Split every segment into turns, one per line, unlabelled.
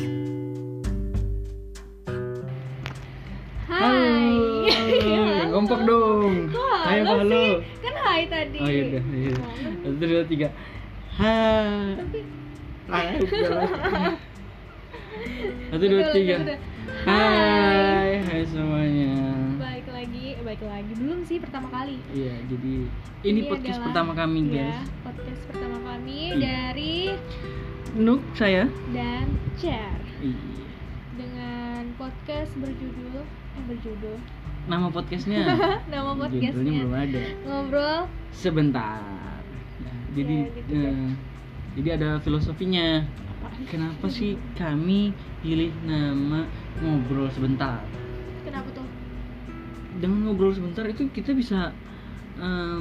kompak dong.
Kok
Ayo
halo,
halo.
sih? Kan hai tadi.
Oh iya udah. Iya.
Halo.
Satu dua tiga. Ha. Hai. Satu dua
Betul,
tiga.
betul, betul. Hai.
Hai, hai semuanya.
Baik lagi, eh, baik lagi. Belum sih pertama kali.
Iya, jadi ini podcast
adalah-
pertama kami,
iya,
guys.
Podcast pertama kami
Iya.
dari
Nuk saya.
dan Cher
Iya.
dengan podcast berjudul eh berjudul
Nama podcastnya.
nama
Judulnya belum
podcastnya
ada.
ngobrol
Sebentar. Ya, jadi
Ya, gitu deh.
eh, jadi ada filosofinya. Kenapa sih kami pilih nama ngobrol sebentar?
kenapa tuh
Dengan ngobrol sebentar itu kita bisa eh,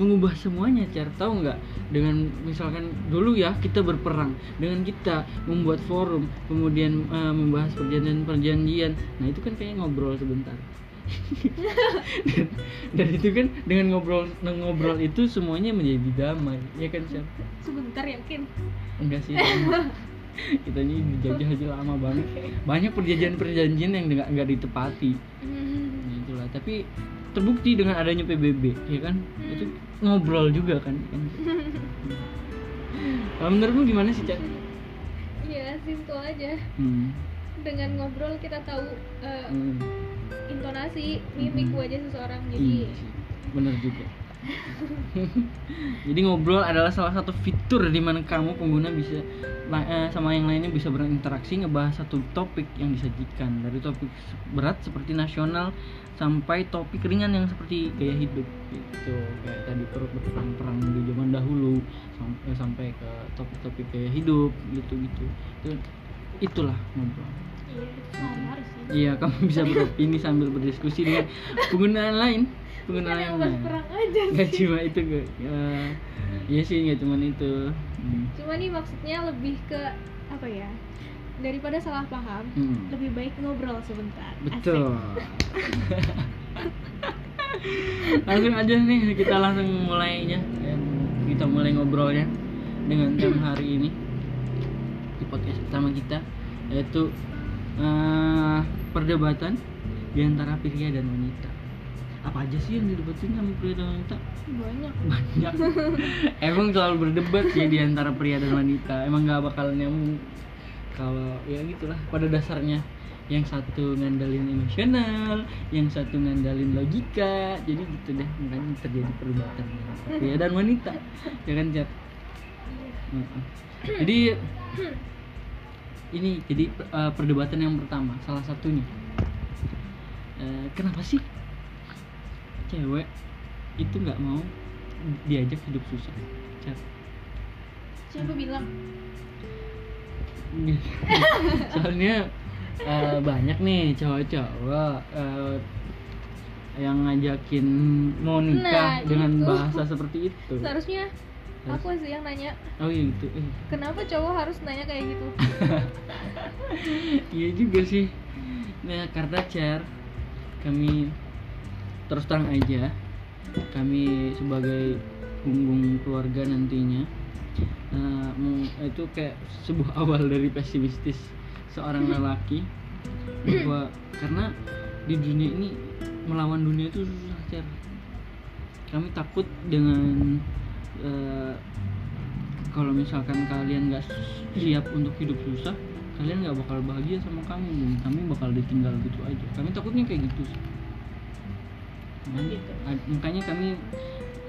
mengubah semuanya, cara tahu nggak? Dengan misalkan dulu ya kita berperang, dengan kita membuat forum, kemudian eh, membahas perjanjian-perjanjian. Nah itu kan kayak ngobrol sebentar. dan, dan itu kan dengan ngobrol ngobrol itu semuanya menjadi damai, ya kan Syar?
sebentar ya, yakin
enggak sih kita ini dijajah-jajah lama banget banyak perjanjian-perjanjian yang nggak nggak ditepati
Hmm.
Nah, itulah tapi terbukti dengan adanya PBB ya kan itu ngobrol juga kan kalau menurutmu gimana sih Cak?
Iya, simple aja.
Hmm.
Dengan ngobrol kita tahu eh,
hmm,
intonasi, mimik
Mhm.
wajah seseorang. kan, Jadi
iya sih, bener juga jadi ngobrol adalah salah satu fitur di mana kamu pengguna bisa la- eh, sama yang lainnya bisa berinteraksi ngebahas satu topik yang disajikan dari topik se- berat seperti nasional sampai topik ringan yang seperti gaya hidup gitu kayak tadi per- perang-perang di zaman dahulu sam- eh, sampai ke topik-topik gaya hidup gitu gitu Itu- itulah ngobrol
iya, oh, harus sih.
iya kamu bisa beropini sambil berdiskusi dengan penggunaan lain
Bukan
penggunaan
yang
yang
bahas
lain
perang aja
nggak
sih.
cuma itu gue Eh, iya sih nggak cuma itu hmm.
Cuma nih maksudnya lebih ke apa ya? Daripada salah paham,
Hmm.
lebih baik ngobrol sebentar.
betul langsung aja nih kita langsung mulainya Eh, kita mulai ngobrolnya dengan tema hari ini di podcast pertama kita yaitu eh, perdebatan di antara pria dan wanita apa aja sih yang didebatin sama pria dan wanita
Asik. Banyak.
banyak emang selalu berdebat ya di antara pria dan wanita emang nggak bakal nyambung kalau ya gitulah pada dasarnya yang satu ngandelin emosional yang satu ngandelin logika jadi gitu deh makanya terjadi perdebatan di antara pria dan wanita ya kan Cat? Heeh. jadi ini jadi eh, perdebatan yang pertama salah satunya Eh, kenapa sih cewek itu nggak mau diajak hidup susah Cat.
Siapa bilang?
soalnya eh, banyak nih cowok-cowok eh, yang ngajakin mau nikah
Nah,
dengan
itu.
bahasa seperti itu
Seharusnya
Harus-
aku sih yang nanya,
oh iya gitu Eh,
kenapa cowok harus nanya kayak gitu?
iya juga sih nah karena cer kami terus terang aja kami sebagai punggung keluarga nantinya eh, mau- itu kayak sebuah awal dari pesimistis seorang lelaki bahwa karena di dunia ini melawan dunia itu susah cer kami takut dengan eh, kalau misalkan kalian nggak siap untuk hidup susah kalian nggak bakal bahagia sama kamu dan kami bakal ditinggal gitu aja kami takutnya kayak gitu sih. makanya, ad- makanya kami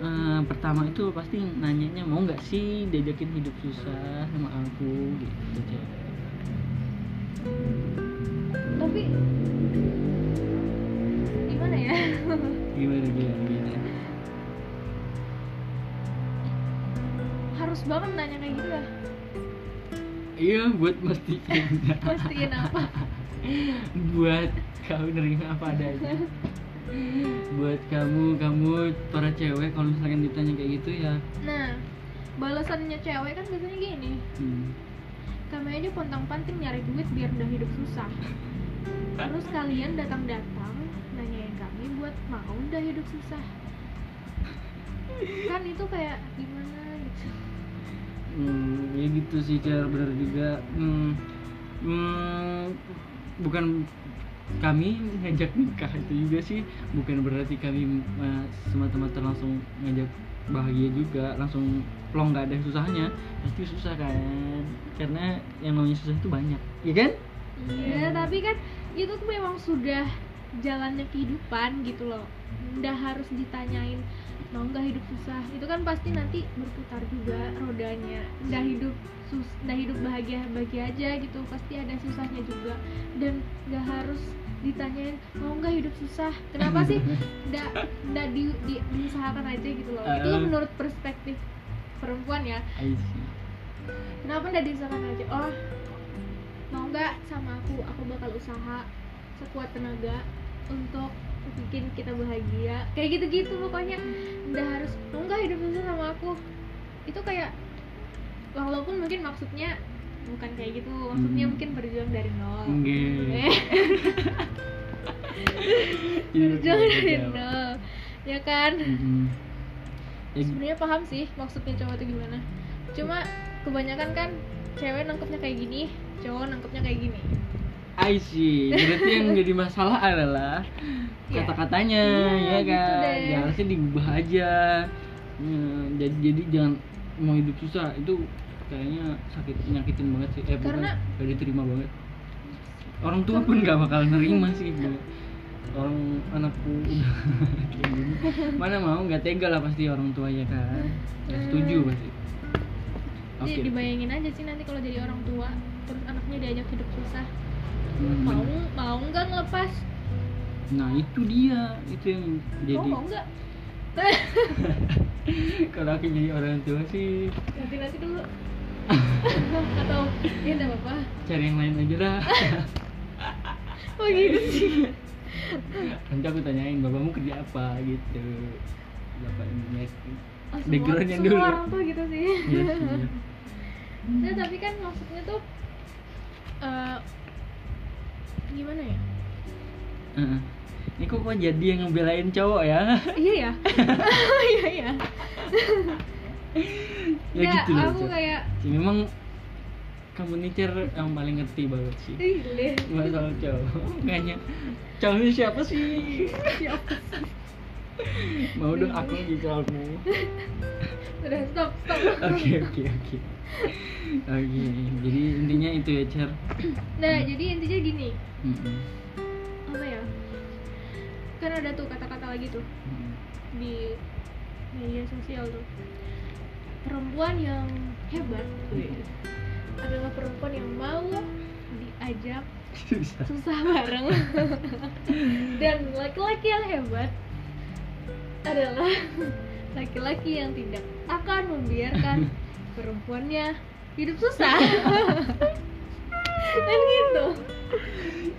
eh, pertama itu pasti nanyanya mau nggak sih diajakin hidup susah sama aku gitu Cel.
Tapi gimana ya?
gimana gimana gimana
harus banget nanya kayak gitu ya?
iya buat mastiin
Pastiin apa?
buat kau nerima apa adanya buat kamu kamu para cewek kalau misalkan ditanya kayak gitu ya
Nah, balasannya cewek kan biasanya gini.
hmm,
Kami aja pontang panting nyari duit biar udah hidup susah. Terus kalian datang-datang nanyain kami buat mau udah hidup susah. Kan itu kayak gimana gitu.
Hmm, ya gitu sih cara benar juga. Hmm, hmm, bukan kami ngajak nikah itu juga sih bukan berarti kami eh, semata-mata langsung ngajak bahagia juga langsung plong nggak ada susahnya pasti susah kan karena yang namanya susah itu banyak ya kan
Iya, tapi kan itu tuh memang sudah jalannya kehidupan gitu loh. Nggak harus ditanyain mau nggak hidup susah. Itu kan pasti nanti berputar juga rodanya. Nggak hidup sus, nggak hidup bahagia bahagia aja gitu. Pasti ada susahnya juga. Dan nggak harus ditanyain mau nggak hidup susah. Kenapa sih? Nggak nggak di, di- diusahakan aja gitu loh. Itu
Uh-uh.
menurut perspektif perempuan ya
I see.
kenapa nggak diusahakan aja oh mau nggak sama aku aku bakal usaha sekuat tenaga untuk bikin kita bahagia kayak gitu-gitu pokoknya nggak harus mau nggak hidup susah sama aku itu kayak walaupun mungkin maksudnya bukan kayak gitu maksudnya
Hmm.
mungkin berjuang dari nol
Nggih.
Eh,
Iya,
berjuang dari
iya.
nol ya kan
Mm-mm. Ya,
sebenarnya paham sih maksudnya cowok itu gimana cuma kebanyakan kan cewek nangkepnya kayak gini cowok nangkepnya kayak gini
I see. Berarti yang jadi masalah adalah
Ya.
kata-katanya,
Iya,
ya kan?
gitu deh.
ya harusnya diubah aja. Hmm, jadi jadi jangan mau hidup susah itu kayaknya sakit nyakitin banget sih. Eh, bukan,
Karena-
nggak diterima banget. Orang tua pun nggak bakal nerima sih. Bu. Orang anakku udah kayak gini. mana mau nggak tega lah pasti orang tua ya kan? Nggak setuju pasti.
Jadi Hmm. Iya, dibayangin aja sih nanti kalau jadi orang tua terus anaknya diajak hidup susah
Hmm.
mau mau nggak ngelepas
Nah itu dia itu yang
oh,
jadi
mau nggak
kalau aku jadi orang tua sih
nanti nanti dulu atau ya nggak apa-apa
cari yang lain aja lah
oh gitu sih
nanti aku tanyain bapakmu kerja apa gitu bapak ini
Oh, semua-
Backgroundnya
semua
dulu. Hmm.
orang tuh gitu sih
Iya sih.
nah tapi kan maksudnya tuh eh, gimana ya
Heeh. ini kok kok jadi yang ngebelain cowok ya
iya ya iya iya
ya
Nggak,
gitu loh
aku
Cak.
kayak
Sih, memang komunitir yang paling ngerti banget sih
"Ih, leh,
masalah cowok kayaknya cowoknya siapa sih
siapa
mau dong aku gitu aku
udah stop stop
Oke oke oke. Oke, jadi intinya itu ya, Cer.
nah jadi intinya gini
Mm-mm.
apa ya kan ada tuh kata-kata lagi tuh
Mm-mm.
di media sosial tuh perempuan yang hebat
Wih.
adalah perempuan yang mau diajak
Itu bisa.
susah bareng dan laki-laki yang hebat adalah laki-laki yang tidak akan membiarkan perempuannya hidup susah kan gitu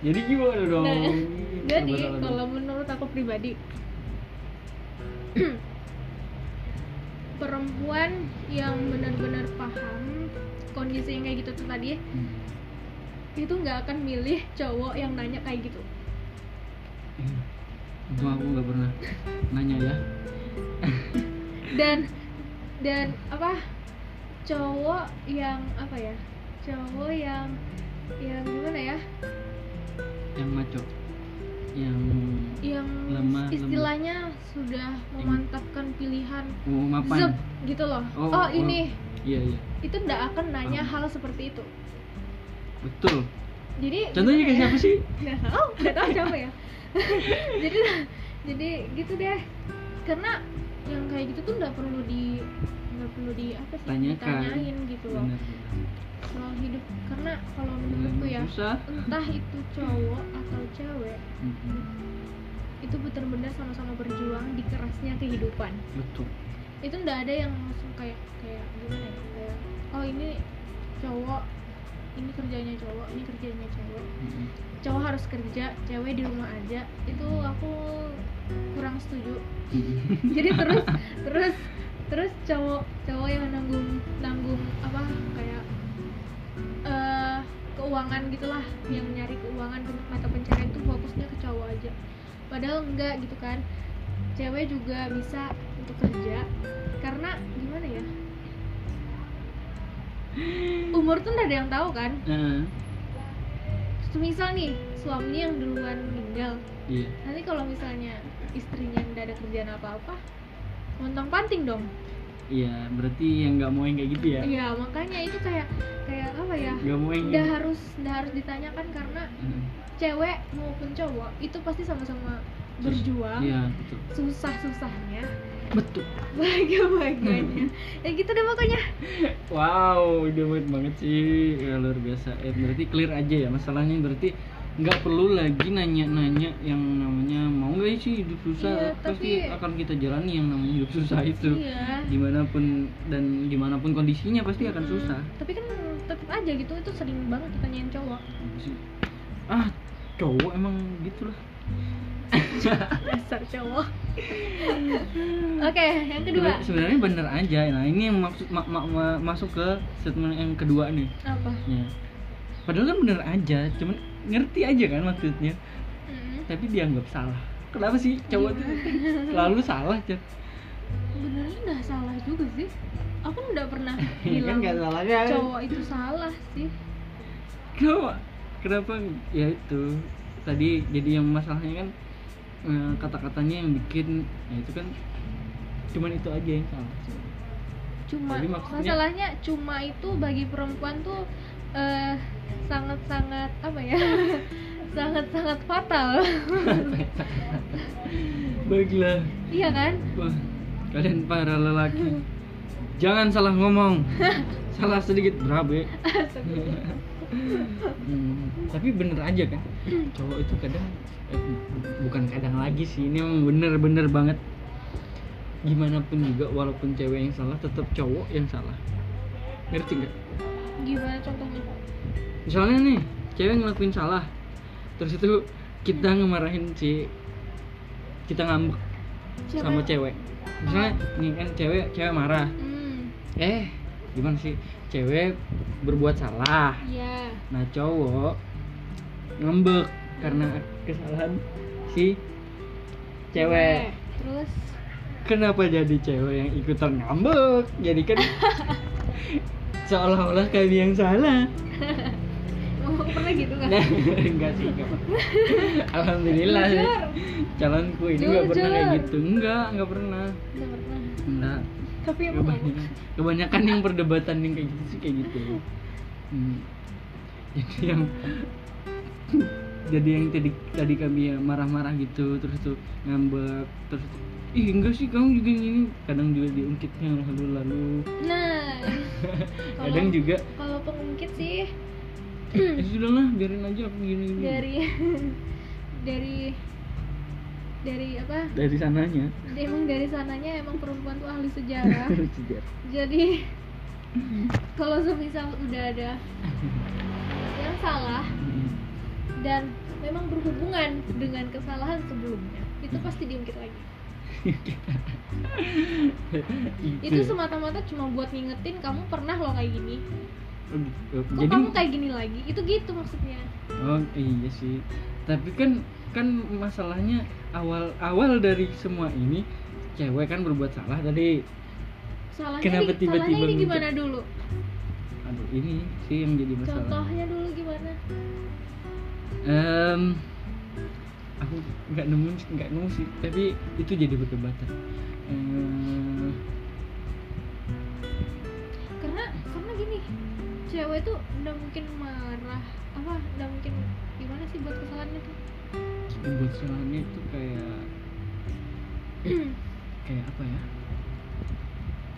Jadi gimana dong?
Nah, jadi
Coba salah
kalau
dong.
menurut aku pribadi perempuan yang benar-benar paham kondisi yang kayak gitu tuh tadi
Hmm.
itu nggak akan milih cowok yang nanya kayak gitu
Eh, Itu aku nggak pernah nanya ya.
dan dan apa cowok yang apa ya cowok yang yang gimana ya
Yang maco, yang
yang
Lemah,
istilahnya sudah memantapkan pilihan Zep,
oh, mapan.
gitu loh
Oh,
oh
oh.
ini
Iya iya,
itu nggak akan nanya
Ah.
hal seperti itu
betul.
jadi
Contohnya kayak
gimana
siapa sih?
ya? nggak tahu nggak tahu siapa ya jadi jadi gitu deh karena yang kayak gitu tuh nggak perlu di nggak perlu di apa sih
Tanyakan.
ditanyain gitu loh
Benar.
soal hidup karena kalau menurutku ya
Benar. Susah.
entah itu cowok atau cewek
Mm-mm.
itu benar-benar sama-sama berjuang di kerasnya kehidupan
Betul.
itu ndak ada yang langsung kayak kayak gimana ya kayak oh ini cowok ini kerjanya cowok ini kerjanya cewek
Mm-mm.
cowok harus kerja cewek di rumah aja itu aku kurang setuju
Mm-mm.
jadi terus terus terus cowok cowok yang nanggung nanggung apa kayak eh keuangan gitulah yang nyari keuangan ke mata pencarian tuh fokusnya ke cowok aja padahal enggak gitu kan cewek juga bisa untuk kerja karena gimana ya
Eh,
umur tuh nggak ada yang tahu kan
Nah,
semisal nih suaminya yang duluan meninggal
iya
nanti kalau misalnya istrinya nggak ada kerjaan apa-apa montong panting dong
iya berarti yang nggak mau yang kayak gitu ya
iya makanya itu kayak kayak apa ya
nggak mau yang
udah harus udah harus ditanyakan karena
Mm.
cewek maupun cowok itu pasti sama-sama
Sus-
berjuang
iya betul
susah-susahnya
betul
bahagia-bahagianya
Hmm.
ya gitu deh pokoknya
wow ide baik banget sih ya, luar biasa eh, berarti clear aja ya masalahnya berarti nggak perlu lagi nanya-nanya yang namanya mau nggak sih hidup susah
Iya,
pasti
tapi-
akan kita jalani yang namanya hidup susah itu
iya
dimanapun dan dimanapun kondisinya pasti Iya, akan
Mm-mm.
susah
tapi kan tetap aja gitu itu sering banget ditanyain cowok
Apa sih? ah cowok emang gitu lah
dasar cowok
Hmm.
oke yang kedua
Sebenarnya- sebenarnya bener aja nah ini yang maksud ma- ma- ma- masuk ke statement yang kedua nih
apa
ya. padahal kan bener aja cuman ngerti aja kan maksudnya
Mm-mm.
tapi dianggap salah kenapa sih cowok tuh selalu salah Cer?
benernya nggak salah juga sih aku nggak pernah
Iya kan
bilang
nggak salah kan
cowok itu salah sih
kenapa kenapa ya itu tadi jadi yang masalahnya kan eh, kata-katanya yang bikin ya itu kan cuman itu aja yang salah
cuma
Jadi maksudnya-
masalahnya cuma itu bagi perempuan tuh eh, sangat-sangat apa ya sangat-sangat fatal
baiklah
iya kan
Wah, kalian para lelaki jangan salah ngomong salah sedikit ya? berabe Hmm, tapi bener aja kan cowok itu kadang eh, bu- bukan kadang lagi sih ini emang bener-bener banget gimana pun juga walaupun cewek yang salah tetap cowok yang salah ngerti nggak
gimana contohnya
misalnya nih cewek ngelakuin salah terus itu kita ngemarahin si kita ngambek
Siapa
sama
yang-
cewek misalnya nih kan cewek cewek marah
hmm
eh gimana sih cewek berbuat salah
iya
nah cowok ngambek karena kesalahan si cewek
terus
kenapa jadi cewek yang ikutan ngambek jadi kan seolah-olah kami yang salah
oh, pernah gitu kan
nah, enggak sih enggak pernah. alhamdulillah sih.
Jujur.
calonku ini enggak pernah kayak
Jujur.
gitu enggak enggak pernah
Nggak pernah
enggak
tapi emang
kebanyakan, kebanyakan yang perdebatan yang kayak gitu sih kayak gitu Hmm. jadi yang jadi yang tadi tadi kami ya marah-marah gitu terus tuh ngambek terus tuh, ih enggak sih kamu juga yang ini kadang juga diungkitnya lalu-lalu
nah
kadang
kalau-
juga
kalau pengungkit sih
ya sudahlah biarin aja aku gini gini
dari dari dari apa
dari sananya
emang dari sananya emang perempuan tuh ahli sejarah
Sejarah.
jadi kalau semisal udah ada yang salah
Hmm.
dan memang berhubungan dengan kesalahan sebelumnya itu
Hmm.
pasti diungkit lagi itu
ya.
semata-mata cuma buat ngingetin kamu pernah lo kayak gini
Oh, gitu.
kok
jadi
kamu kayak gini lagi itu gitu maksudnya
Oh iya sih. Tapi kan kan masalahnya awal awal dari semua ini cewek kan berbuat salah tadi.
salahnya
Kenapa
di,
tiba-tiba
salahnya ini
ngungkit?
gimana dulu
Aduh ini sih yang jadi masalah.
contohnya dulu gimana
Em, aku nggak nemu nggak nemu sih. Tapi itu jadi perdebatan. Eh,
karena karena gini cewek tuh udah mungkin marah apa udah mungkin gimana sih buat kesalahannya tuh
yang buat salahnya itu kayak kayak apa ya?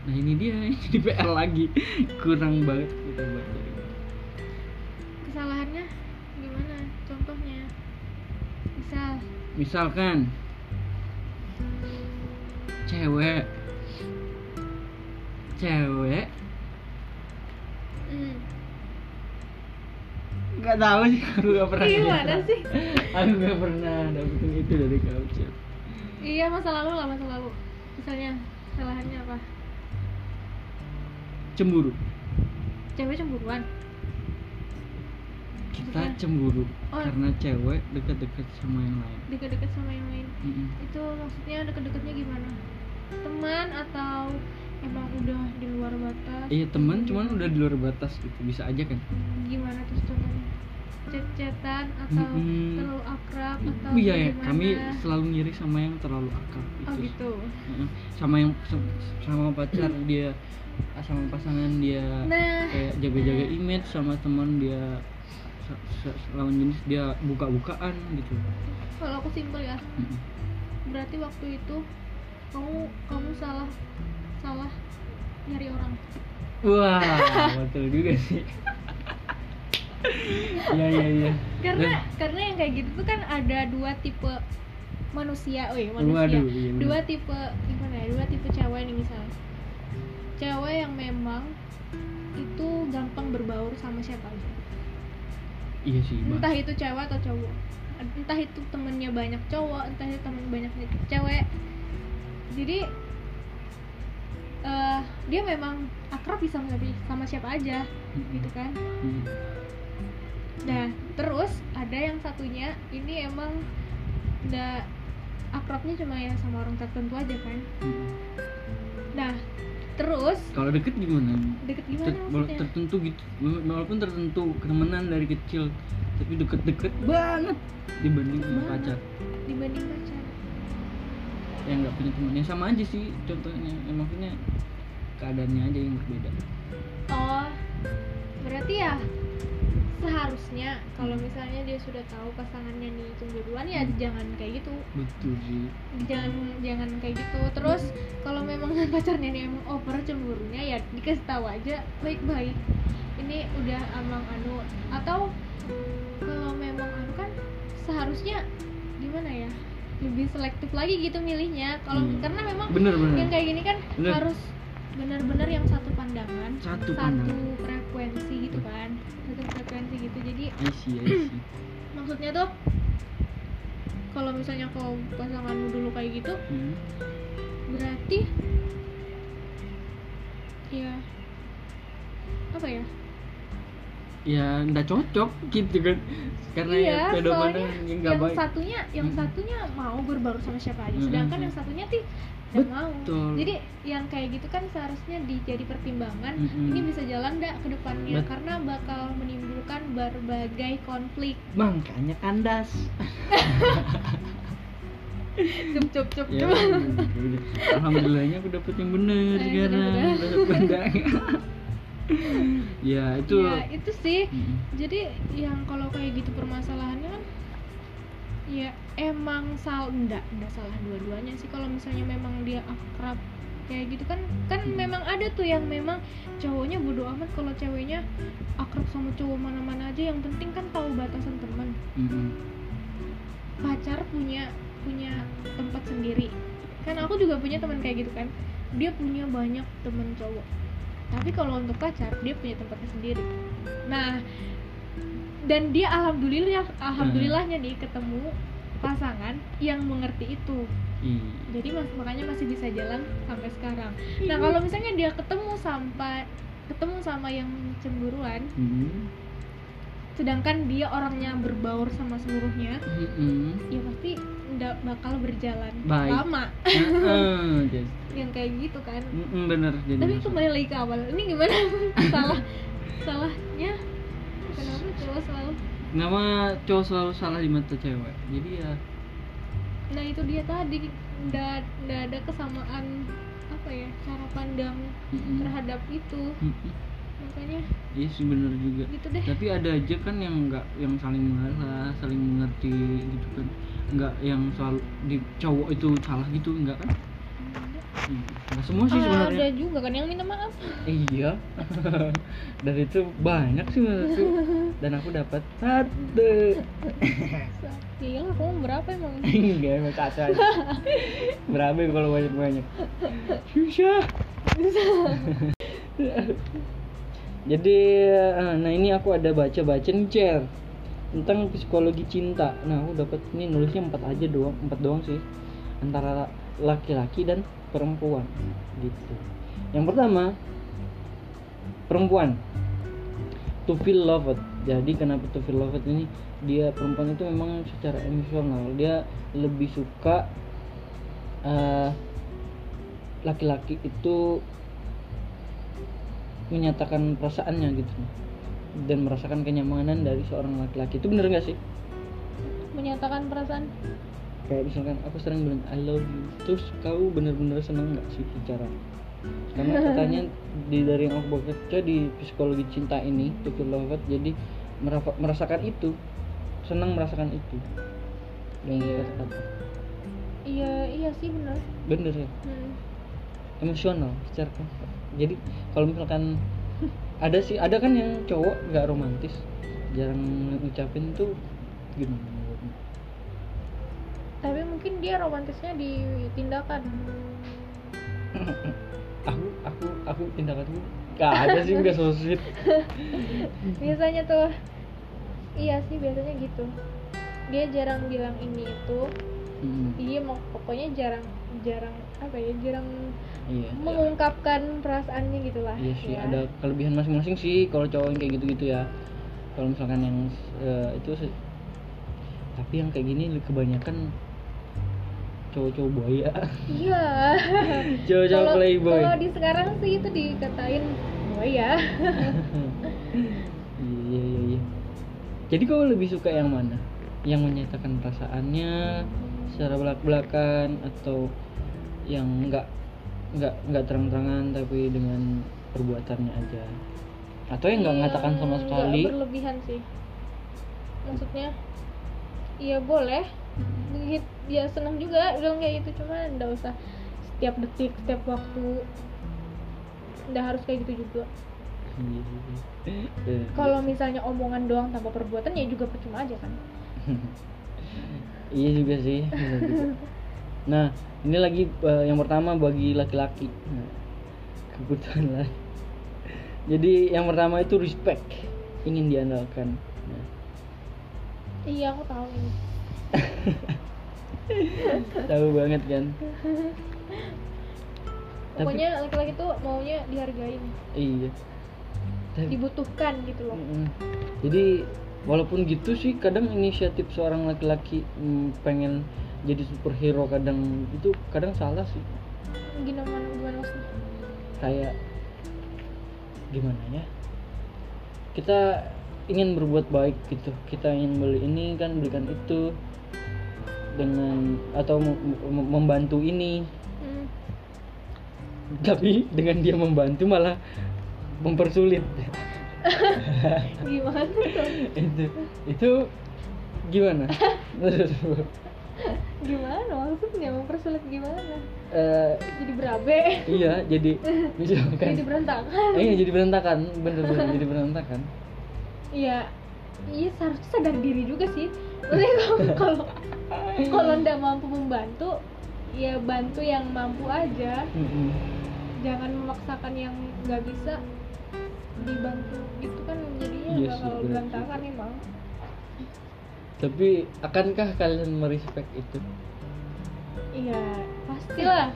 Nah ini dia ini jadi PR lagi kurang banget kita buat jadi.
kesalahannya gimana contohnya misal
misalkan cewek cewek
hmm.
nggak tahu sih aku nggak pernah
gimana sih
aku nggak pernah dapetin itu dari kau Cep.
iya masa lalu lah masa lalu misalnya kesalahannya apa
cemburu
cewek cemburuan
kita
Maksudnya?
cemburu
Oh.
karena cewek dekat-dekat sama yang lain
deket-deket sama yang lain
Mm-mm.
itu maksudnya deket-deketnya gimana teman atau emang udah di luar batas
iya teman cuman udah di luar batas gitu bisa aja kan
gimana terus contohnya chat-chatan atau
Mm-mm.
terlalu akrab atau
Iya ya,
gimana?
kami selalu ngiris sama yang terlalu akrab
oh
itu.
gitu
Heeh. Sama yang sama pacar dia sama pasangan dia
nah
kayak jaga-jaga image sama teman dia se- se- lawan jenis dia buka-bukaan gitu.
kalau aku simpel ya
Heeh.
berarti waktu itu kamu kamu salah salah nyari orang
Wah, betul juga sih. Iya iya iya.
karena karena yang kayak gitu tuh kan ada dua tipe manusia oh manusia
Waduh, iya benar.
dua tipe gimana ya dua tipe cewek nih misalnya cewek yang memang itu gampang berbaur sama siapa aja
Iya sih, Bang.
entah itu cewek atau cowok entah itu temennya banyak cowok entah itu temen banyaknya cewek jadi eh, dia memang akrab bisa sama, sama siapa aja gitu kan
Heeh.
Nah, terus ada yang satunya ini emang nggak akrabnya cuma ya sama orang tertentu aja kan.
Heeh.
Nah, terus
Kalau deket gimana?
deket gimana
Ter- wala-
maksudnya?
tertentu gitu walaupun tertentu ketemenan dari kecil tapi deket-deket banget dibanding sama
Banget.
pacar
Dibanding pacar.
yang nggak punya temen yang sama aja sih contohnya ya, maksudnya keadaannya aja yang berbeda
Oh, berarti ya seharusnya kalau misalnya dia sudah tahu pasangannya nih cemburuan ya jangan kayak gitu
betul sih
jangan jangan kayak gitu terus kalau memang pacarnya nih emang over cemburunya ya dikasih tahu aja baik-baik ini udah amang anu atau kalau memang anu kan seharusnya gimana ya lebih selektif lagi gitu milihnya kalau
Iya.
karena memang
bener
yang
bener
kayak gini kan
Bener.
harus benar-benar yang satu pandangan
Satu pandangan.
frekuensi gitu kan satu frekuensi gitu jadi
I see, I see.
maksudnya tuh kalau misalnya kau pasanganmu dulu kayak gitu
Hmm.
berarti ya apa ya
ya nggak cocok gitu kan karena
iya
ya
soalnya
pedoman yang nggak
yang
baik Hmm.
satunya yang
Mm-mm.
satunya mau berbaur sama siapa aja
Mm-mm.
sedangkan yang satunya sih nggak mau
Betul.
jadi yang kayak gitu kan seharusnya dijadi pertimbangan
Mm-mm.
ini bisa jalan nggak ke depannya
Hmm. Bet-
karena bakal menimbulkan berbagai konflik
makanya kandas
cup cup cup
ya,
cup.
udah. alhamdulillahnya aku dapet yang bener
Eh,
sekarang
bener-bener.
Dapet bener. ya itu Hmm,
ya itu sih
Mm-mm.
jadi yang kalau kayak gitu permasalahannya kan ya emang salah enggak enggak salah dua-duanya sih kalau misalnya memang dia akrab kayak gitu kan kan
Hmm.
memang ada tuh yang memang cowoknya bodo amat kalau ceweknya akrab sama cowok mana-mana aja yang penting kan tahu batasan teman
Mm-mm.
pacar punya punya tempat sendiri kan aku juga punya teman kayak gitu kan dia punya banyak teman cowok tapi kalau untuk pacar dia punya tempatnya sendiri nah dan dia alhamdulillah alhamdulillahnya nih ketemu pasangan yang mengerti itu
Iya.
jadi mas- makanya masih bisa jalan sampai sekarang nah kalau misalnya dia ketemu sampai ketemu sama yang cemburuan
Hmm.
sedangkan dia orangnya berbaur sama seluruhnya
Mm-mm.
ya pasti nggak bakal berjalan
Baik.
lama
Heeh, Jess.
yang kayak gitu kan
Mm-mm, bener jadi
tapi
masalah.
kembali lagi ke awal ini gimana salah salahnya kenapa cowok selalu
nama cowok selalu salah di mata cewek jadi ya
nah itu dia tadi nggak nggak ada kesamaan apa ya cara pandang
mm-mm.
terhadap itu
Mm-mm.
makanya
hmm, iya sih bener juga
gitu deh
tapi ada aja kan yang nggak yang saling mengalah saling mengerti gitu kan nggak yang selalu di cowok itu salah gitu nggak kan Mm. nggak semua sih
Ah,
sebenarnya
ada juga kan yang minta maaf
iya dan itu banyak sih menurutku dan aku dapat satu
iya lah kamu berapa emang
Enggak emang kacau aja. Berapa ya kalau banyak-banyak Susah Jadi eh, nah ini aku ada baca-baca nih Cer Tentang psikologi cinta Nah aku dapat ini nulisnya empat aja doang empat doang sih Antara laki-laki dan perempuan Gitu Yang pertama Perempuan to feel loved jadi kenapa to feel loved ini dia perempuan itu memang secara emosional dia lebih suka eh, laki-laki itu menyatakan perasaannya gitu dan merasakan kenyamanan dari seorang laki-laki itu bener nggak sih
menyatakan perasaan
kayak misalkan aku sering bilang I love you terus kau bener-bener seneng nggak sih secara karena katanya di dari yang aku baca di psikologi cinta ini Tutur Lovett jadi merafa- merasakan itu senang merasakan itu dan
Iya.
kata-kata
iya iya sih bener
bener ya
Hmm.
emosional secara kata. jadi kalau misalkan ada sih ada kan yang cowok nggak romantis jarang ngucapin tuh gimana menurutmu?
tapi mungkin dia romantisnya di tindakan
aku aku aku tindakanku nggak ada sih nggak so sweet
biasanya tuh iya sih biasanya gitu dia jarang bilang ini itu
Hmm,
dia mau pokoknya jarang jarang apa ya jarang
iya
mengungkapkan perasaannya gitu ya. gitulah
Iya sih, ada kelebihan masing-masing sih kalau cowok yang kayak gitu-gitu ya. Kalau misalkan yang eh, itu se- tapi yang kayak gini kebanyakan cowok-cowok boya,
iya
cowok-cowok
kalau
playboy.
kalau di sekarang sih itu dikatain oh ya
Iya, iya, iya, iya. Jadi kau lebih suka yang mana? Yang menyatakan perasaannya secara belak-belakan atau yang enggak nggak nggak terang-terangan tapi dengan perbuatannya aja atau yang nggak mengatakan sama
Yang
sekali
Hmm, nggak berlebihan sih maksudnya iya boleh Begit- ya senang juga bilang kayak gitu cuma nggak usah setiap detik setiap waktu nggak harus kayak gitu juga
Iya.
kalau misalnya omongan doang tanpa perbuatan ya juga percuma aja kan
iya juga sih benar juga. nah ini lagi eh, yang pertama bagi laki-laki nah, kebutuhan lah jadi yang pertama itu respect ingin diandalkan Nah,
iya aku tahu ini
tahu banget kan Tapi-
pokoknya laki-laki tuh maunya dihargain
iya Tapi-
dibutuhkan gitu loh
Mm-mm. Jadi walaupun gitu sih kadang inisiatif seorang laki-laki mm, pengen jadi superhero kadang itu kadang salah sih. Hmm.
gimana gimana maksudnya
Kayak gimana ya? Kita ingin berbuat baik gitu. Kita ingin beli ini kan belikan itu dengan atau mem- mem- membantu ini
Hmm,
tapi dengan dia membantu malah mempersulit
gimana tuh
itu itu gimana Menurutmu?
gimana maksudnya mempersulit gimana
Eh,
jadi berabe
iya jadi
jadi
misalkan
berantakan
eh, iya, jadi berantakan bener-bener jadi berantakan
iya iya seharusnya sadar diri juga sih Maksudnya kalau- kalau kalau ndak mampu membantu ya bantu yang mampu aja
Mm-mm.
jangan memaksakan yang nggak bisa dibantu gitu kan jadinya
Iya sih,
bakal
benar
berantakan emang
tapi akankah kalian merespek itu
iya pastilah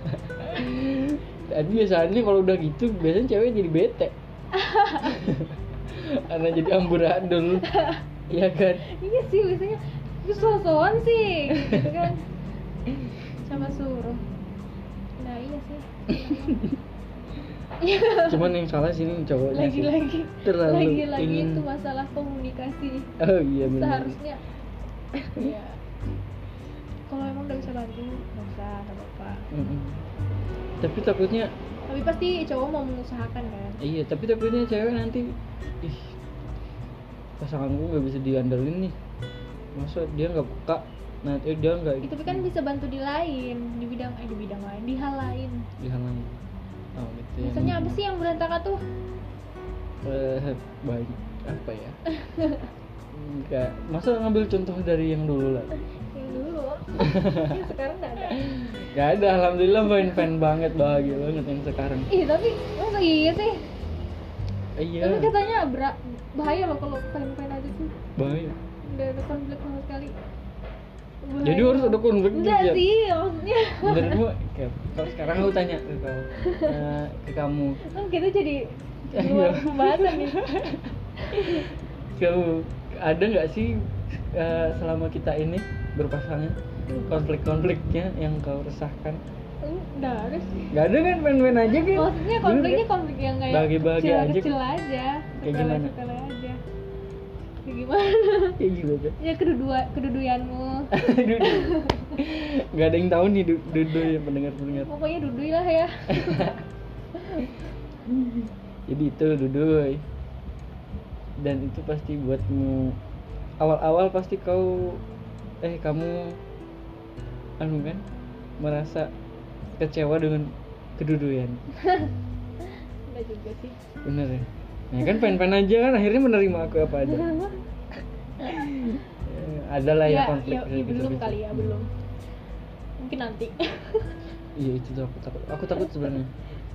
dan biasanya ya kalau udah gitu biasanya cewek jadi bete karena jadi amburadul Iya kan
iya sih biasanya itu sosokan sih gitu kan sama suruh nah iya sih
cuman yang salah sini cowoknya sih
lagi-lagi
terlalu
lagi-lagi
ingin
itu masalah komunikasi
oh iya benar
seharusnya ya kalau emang udah bisa bantu nggak usah nggak apa-apa
Mm-mm. tapi takutnya
tapi pasti cowok mau mengusahakan kan
Iya, tapi takutnya cewek nanti ih pasangan gue nggak bisa diandelin nih. Masa dia nggak peka, nanti dia nggak
itu kan bisa bantu di lain di bidang eh di bidang lain di hal lain
dihalangi. Oh, gitu ya.
misalnya apa sih yang berantakan tuh
Eh, baik apa ya? Enggak. Masa ngambil contoh dari yang dulu lah.
yang dulu yang sekarang nggak ada
Gak ada, alhamdulillah fan fan banget bahagia banget yang sekarang.
ih tapi masa iya sih tapi
Iya,
katanya bra- bahaya loh kalau pengen-pengen aja tuh
baik.
udah ada konflik sama sekali Bahaya.
Jadi harus ada konflik
enggak
juga.
sih maksudnya
Menurutmu, kayak- kalau sekarang aku tanya ke kamu, eh, ke kamu,
kan kita jadi luar pembahasan nih
kamu ada nggak sih eh, selama kita ini berpasangan konflik-konfliknya yang kau resahkan
enggak harus
nggak ada kan main-main aja kan
maksudnya
Bener
konfliknya
kan?
konflik yang kayak
Bagi-bagi aja.
kecil aja
Kayak
sepele-
gimana?
sepele aja Ya gimana?
ya gimana
Ya kedua keduduyanmu.
Dudu. nggak ada yang tahu nih Du- Dudu ya pendengar pendengar
Pokoknya dudui lah ya.
jadi itu Duduy dan itu pasti buatmu awal-awal pasti kau eh kamu anu kan merasa kecewa dengan keduduyan
Enggak juga sih.
bener ya nah kan pengen-pengen aja kan akhirnya menerima aku apa aja Eh, ada lah ya,
ya,
konflik Hmm.
ya, ya belum kali ya, belum. Mungkin nanti.
iya itu tuh aku takut aku takut sebenarnya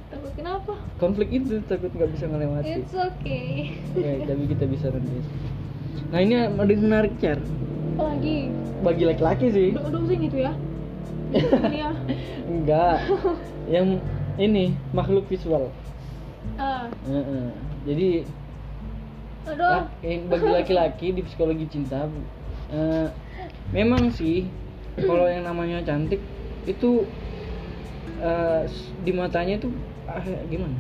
Takut kenapa?
konflik itu takut nggak bisa ngelewati
It's okay.
ya, tapi kita bisa rendes nah ini ada yang menarik cer
Lagi.
bagi laki-laki sih
Udah, udah pusing gitu ya. Ini ya.
enggak yang ini makhluk visual
Ah,
Heeh. jadi
aduh.
lak- eh, bagi laki-laki di psikologi cinta eh, memang sih kalau yang namanya cantik itu eh, s- di matanya itu ah, gimana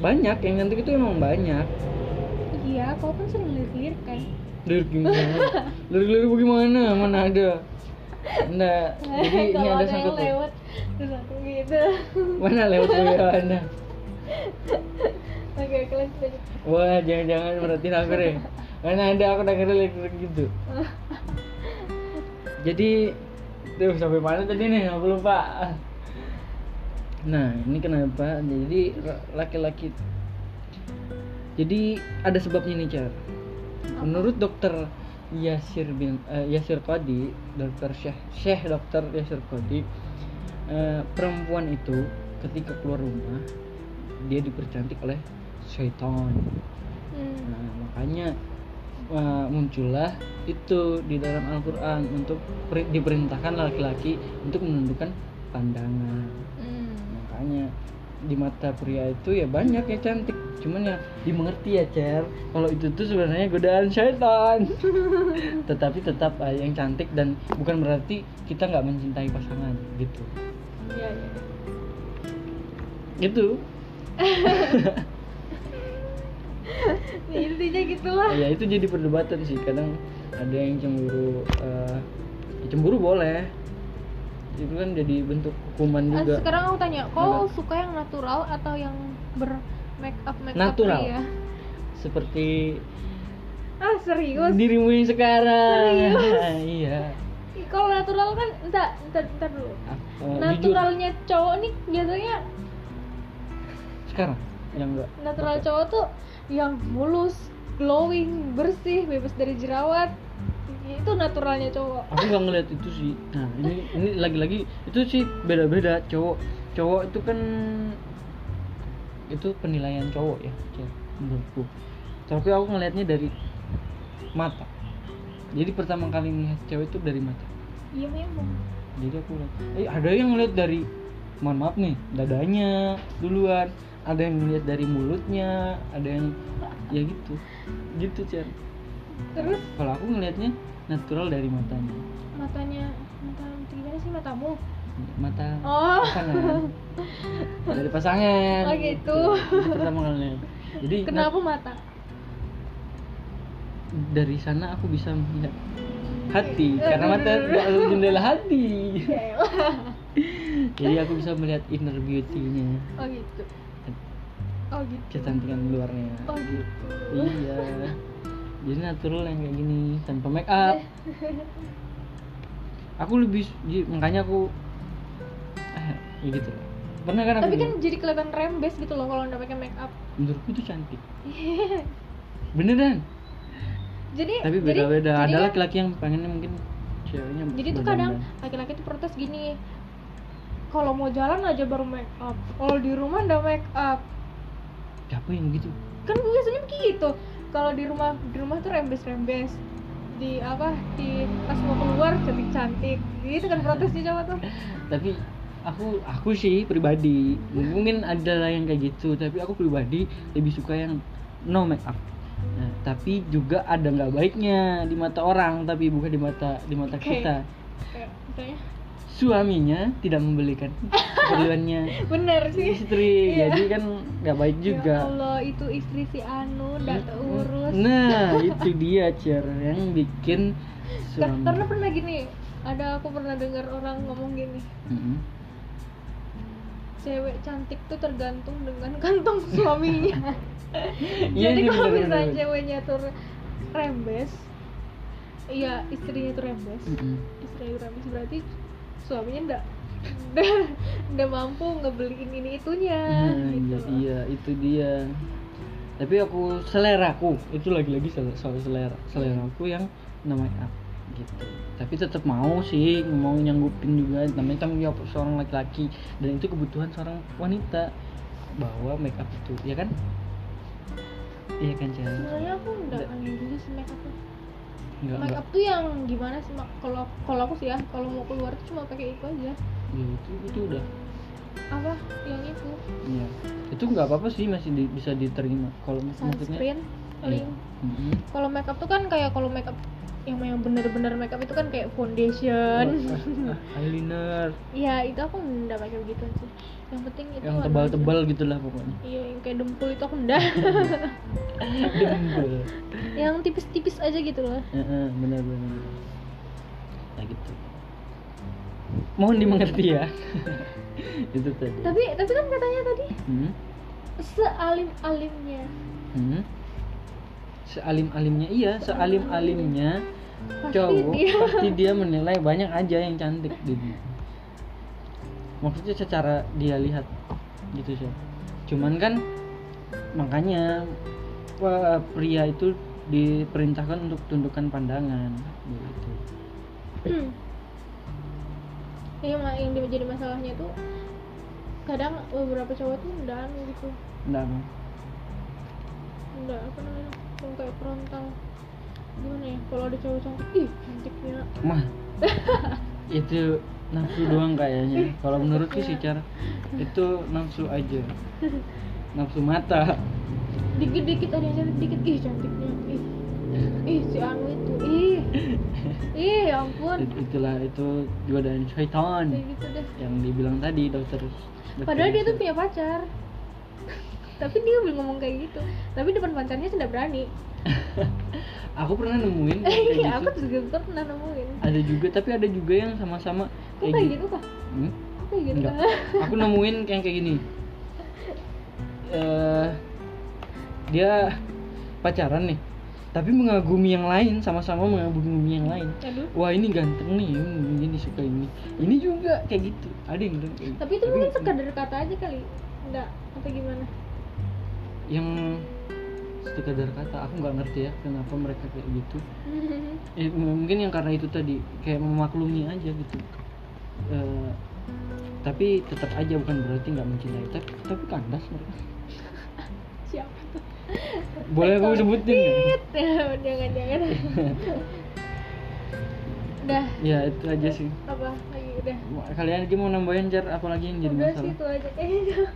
banyak yang cantik itu emang banyak
Iya, kau kan sering lirik-lirik kan.
lirik gimana lirik-lirik bagaimana mana ada Nah, jadi ini
Kalau
ada
ada yang
sangkut paut.
lewat terus aku gitu.
Mana lewat ya, bagaimana?
Oke, kalian lanjut.
Wah, jangan-jangan berarti nakal ya. Karena ada aku dengerin lirik-lirik gitu. Jadi, tuh sampai mana tadi nih? Aku lupa. Nah, ini kenapa? Jadi ra- laki-laki. Jadi ada sebabnya nih, Car. Menurut dokter Yasir bin eh, Yasir Qadi, dokter Syekh Syekh dokter Yasir Qadi, eh, perempuan itu ketika keluar rumah dia dipercantik oleh syaitan.
Hmm.
Nah, makanya uh, muncullah itu di dalam Al-Qur'an untuk peri- diperintahkan laki-laki untuk menundukkan pandangan.
Hmm.
Makanya di mata pria itu ya banyak ya cantik. Cuman ya dimengerti ya, Cer. Kalau itu tuh sebenarnya godaan syaitan. Tetapi tetap uh, yang cantik dan bukan berarti kita nggak mencintai pasangan gitu.
Iya, iya.
Gitu.
Ya, intinya gitulah.
ya itu jadi perdebatan sih kadang ada yang cemburu eh, ya cemburu boleh itu kan jadi bentuk hukuman
Ah,
juga
Sekarang aku tanya, kau
Apa?
suka yang natural atau yang ber make up make up
Natural.
ya?
seperti
Ah serius?
dirimu yang sekarang
Serius?
iya
Ih, Kalau natural kan, entar, entar, entar dulu.
Eh, jujur
Naturalnya cowok nih biasanya
sekarang yang enggak
natural cowok tuh yang mulus, glowing, bersih, bebas dari jerawat. Itu naturalnya cowok.
aku nggak ngeliat itu sih nah ini ini lagi-lagi itu sih beda-beda cowok cowok itu kan itu penilaian cowok ya Cer, menurutku tapi aku ngelihatnya dari mata jadi pertama kali ngelihat cewek itu dari mata
Iya memang.
jadi aku lihat eh ada yang ngeliat dari mohon maaf nih dadanya duluan ada yang ngeliat dari mulutnya ada yang ya gitu gitu cer
Terus
kalau aku ngelihatnya natural dari matanya
matanya, mata gimana sih matamu?
mata
Oh,
pasangan dari pasangan
Oh, gitu.
Itu pertama kali jadi nah,
kenapa mata?
na- dari sana aku bisa melihat hati
Aduh,
karena mata
aduh,
tidak ada jendela hati
Ya elah.
jadi aku bisa melihat inner beauty-nya
Oh gitu. Oh gitu.
kecantikan luarnya
Oh gitu.
iya jadi natural yang kayak gini tanpa make up aku lebih su- ji- makanya aku ah, ya gitu lah. pernah kan aku
Tapi kan
bilang,
jadi kelihatan rembes gitu loh kalau nggak pakai make up.
menurutku itu cantik beneran
Jadi
tapi
jadi-
beda-beda
jadi
ada
kan-
laki-laki yang pengennya mungkin ceweknya
Jadi tuh kadang
berdandan.
laki-laki tuh protes gini. Kalau mau jalan aja baru make up. Kalau di rumah udah make up.
siapa yang gitu
Kan biasanya begitu. Kalau di rumah di rumah tuh rembes-rembes. Di apa? Di pas mau keluar cantik-cantik. Gitu kan protesnya cowok tuh.
tapi aku aku sih pribadi mungkin ada lah yang kayak gitu tapi aku pribadi lebih suka yang no make up nah, tapi juga ada nggak baiknya di mata orang tapi bukan di mata di mata
Oke.
kita
Kayak misalnya
suaminya tidak membelikan keperluannya
bener sih
istri
Iya.
jadi kan nggak baik
ya
juga
Allah itu istri si Anu udah urus
nah itu dia cer yang bikin
Kar-
suami
karena pernah gini ada aku pernah dengar orang ngomong gini
Mm-mm.
cewek cantik tuh tergantung dengan kantong suaminya
Iya,
jadi
ini
kalau
bener-bener.
misalnya ceweknya tuh rembes iya istrinya tuh rembes
Mm-mm.
istrinya tuh rembes berarti suaminya ndak ndak mampu ngebeliin ini itunya gitu
Nah, iya,
loh.
iya, itu dia. Tapi aku seleraku itu lagi-lagi sel- soal selera selera aku yang namanya up
Mm.
gitu. Tapi tetap mau sih mau nyanggupin juga namanya tanggung jawab seorang laki-laki dan itu kebutuhan seorang wanita bahwa make up itu ya kan? Iya kan Cia?
sebenarnya aku ndak
Ndak.
aneh juga sih make up tuh.
Enggak
make
enggak.
up tuh yang gimana sih Mak? kalau kalau aku sih ya kalau mau keluar tuh cuma pakai itu aja
Ya, itu itu udah.
apa yang itu
Iya. Itu nggak apa-apa sih masih di- bisa diterima kalau maksudnya.
sunscreen
Iya.
paling
Mm-mm.
kalau makeup tuh kan kayak kalau makeup yang yang bener-bener makeup itu kan kayak
Iya.
foundation
Eyeliner
ya itu aku nggak pakai begitu sih yang penting itu
yang
warna
tebal-tebal gitulah pokoknya.
aja. iya yang kayak dempul itu aku nggak
Dengkul.
yang tipis-tipis aja gitu loh
Heeh, benar benar. Nah gitu. Mohon dimengerti ya. itu tadi.
tapi tapi kan katanya tadi
Hmm?
sealim-alimnya
Hmm? Sealim-alimnya iya, sealim-alimnya
pasti
cowok
dia
pasti dia menilai banyak aja yang cantik di dunia. Maksudnya secara dia lihat gitu sih. Cuman kan makanya wah, pria itu diperintahkan untuk tundukkan pandangan gitu.
Iya, Ma, yang dia jadi masalahnya tuh kadang beberapa cowok tuh nggak anu gitu
Nggak mau.
nggak apa namanya yang kayak frontal gimana ya kalau ada cowok cantik ih cantiknya
mah itu nafsu doang kayaknya kalau menurutku
Iya.
sih cara itu nafsu aja nafsu mata
dikit-dikit ada yang cantik dikit ih cantiknya ih ih si Anu itu ih ih ya ampun
It- itulah itu godaan syaitan
kayak gitu deh
yang dibilang tadi dokter dokter-
padahal dia tuh punya pacar tapi dia belum ngomong kayak gitu tapi depan pacarnya sudah berani
aku pernah nemuin kayak gitu.
iya aku juga pernah nemuin
ada juga tapi ada juga yang sama-sama
kok kayak gitu kah
Hmm?
kok kayak gitu
Enggak.
kah
aku nemuin yang kayak gini eh dia pacaran nih tapi mengagumi yang lain sama-sama mengagumi yang lain
aduh
wah ini ganteng nih hmm, ini suka ini ini juga kayak gitu ada yang bilang kayak gitu.
tapi itu mungkin sekadar kata aja kali enggak atau gimana
yang sekadar kata aku nggak ngerti ya kenapa mereka kayak gitu Eh, m- mungkin yang karena itu tadi kayak memaklumi aja gitu Eh, tapi tetap aja bukan berarti nggak mencintai tapi, tapi kandas mereka
siapa tuh
boleh aku sebutin
Iya.
nggak?
jangan jangan udah
ya itu aja sih
apa lagi udah
Wah, kalian aja mau nambahin jar apalagi yang jadi
udah sih
masalah
itu aja eh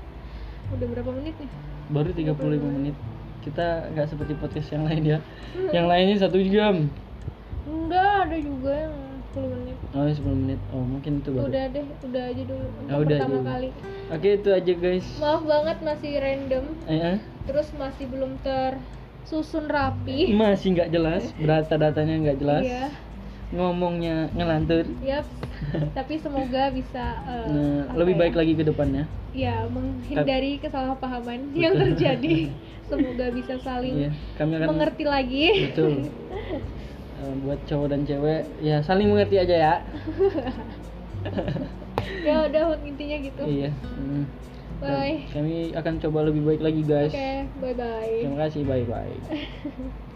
udah berapa menit nih
baru 35 menit kita nggak seperti podcast yang lain ya
Hmm.
yang lainnya satu jam
enggak ada juga yang 10 menit
Oh, 10 menit. Oh, mungkin itu baru.
udah deh udah aja dulu untuk
Ya, udah
pertama
aja.
kali
Oke, itu aja guys.
maaf banget masih random
Eh, eh,
terus masih belum tersusun rapi
masih nggak jelas, data-datanya nggak jelas.
Iya.
Ngomongnya ngelantur.
Yap, tapi semoga bisa eh,
Nah,
apa
lebih
ya?
baik lagi ke depannya.
ya menghindari kesalahpahaman yang
Betul.
terjadi. Semoga bisa saling
Iya, kami akan
mengerti lagi.
betul. Eh, buat cowok dan cewek ya saling mengerti aja ya.
ya udah intinya gitu.
Iya. Hmm.
Bye.
Kami akan coba lebih baik lagi, guys.
Oke, bye bye.
Terima kasih, bye-bye.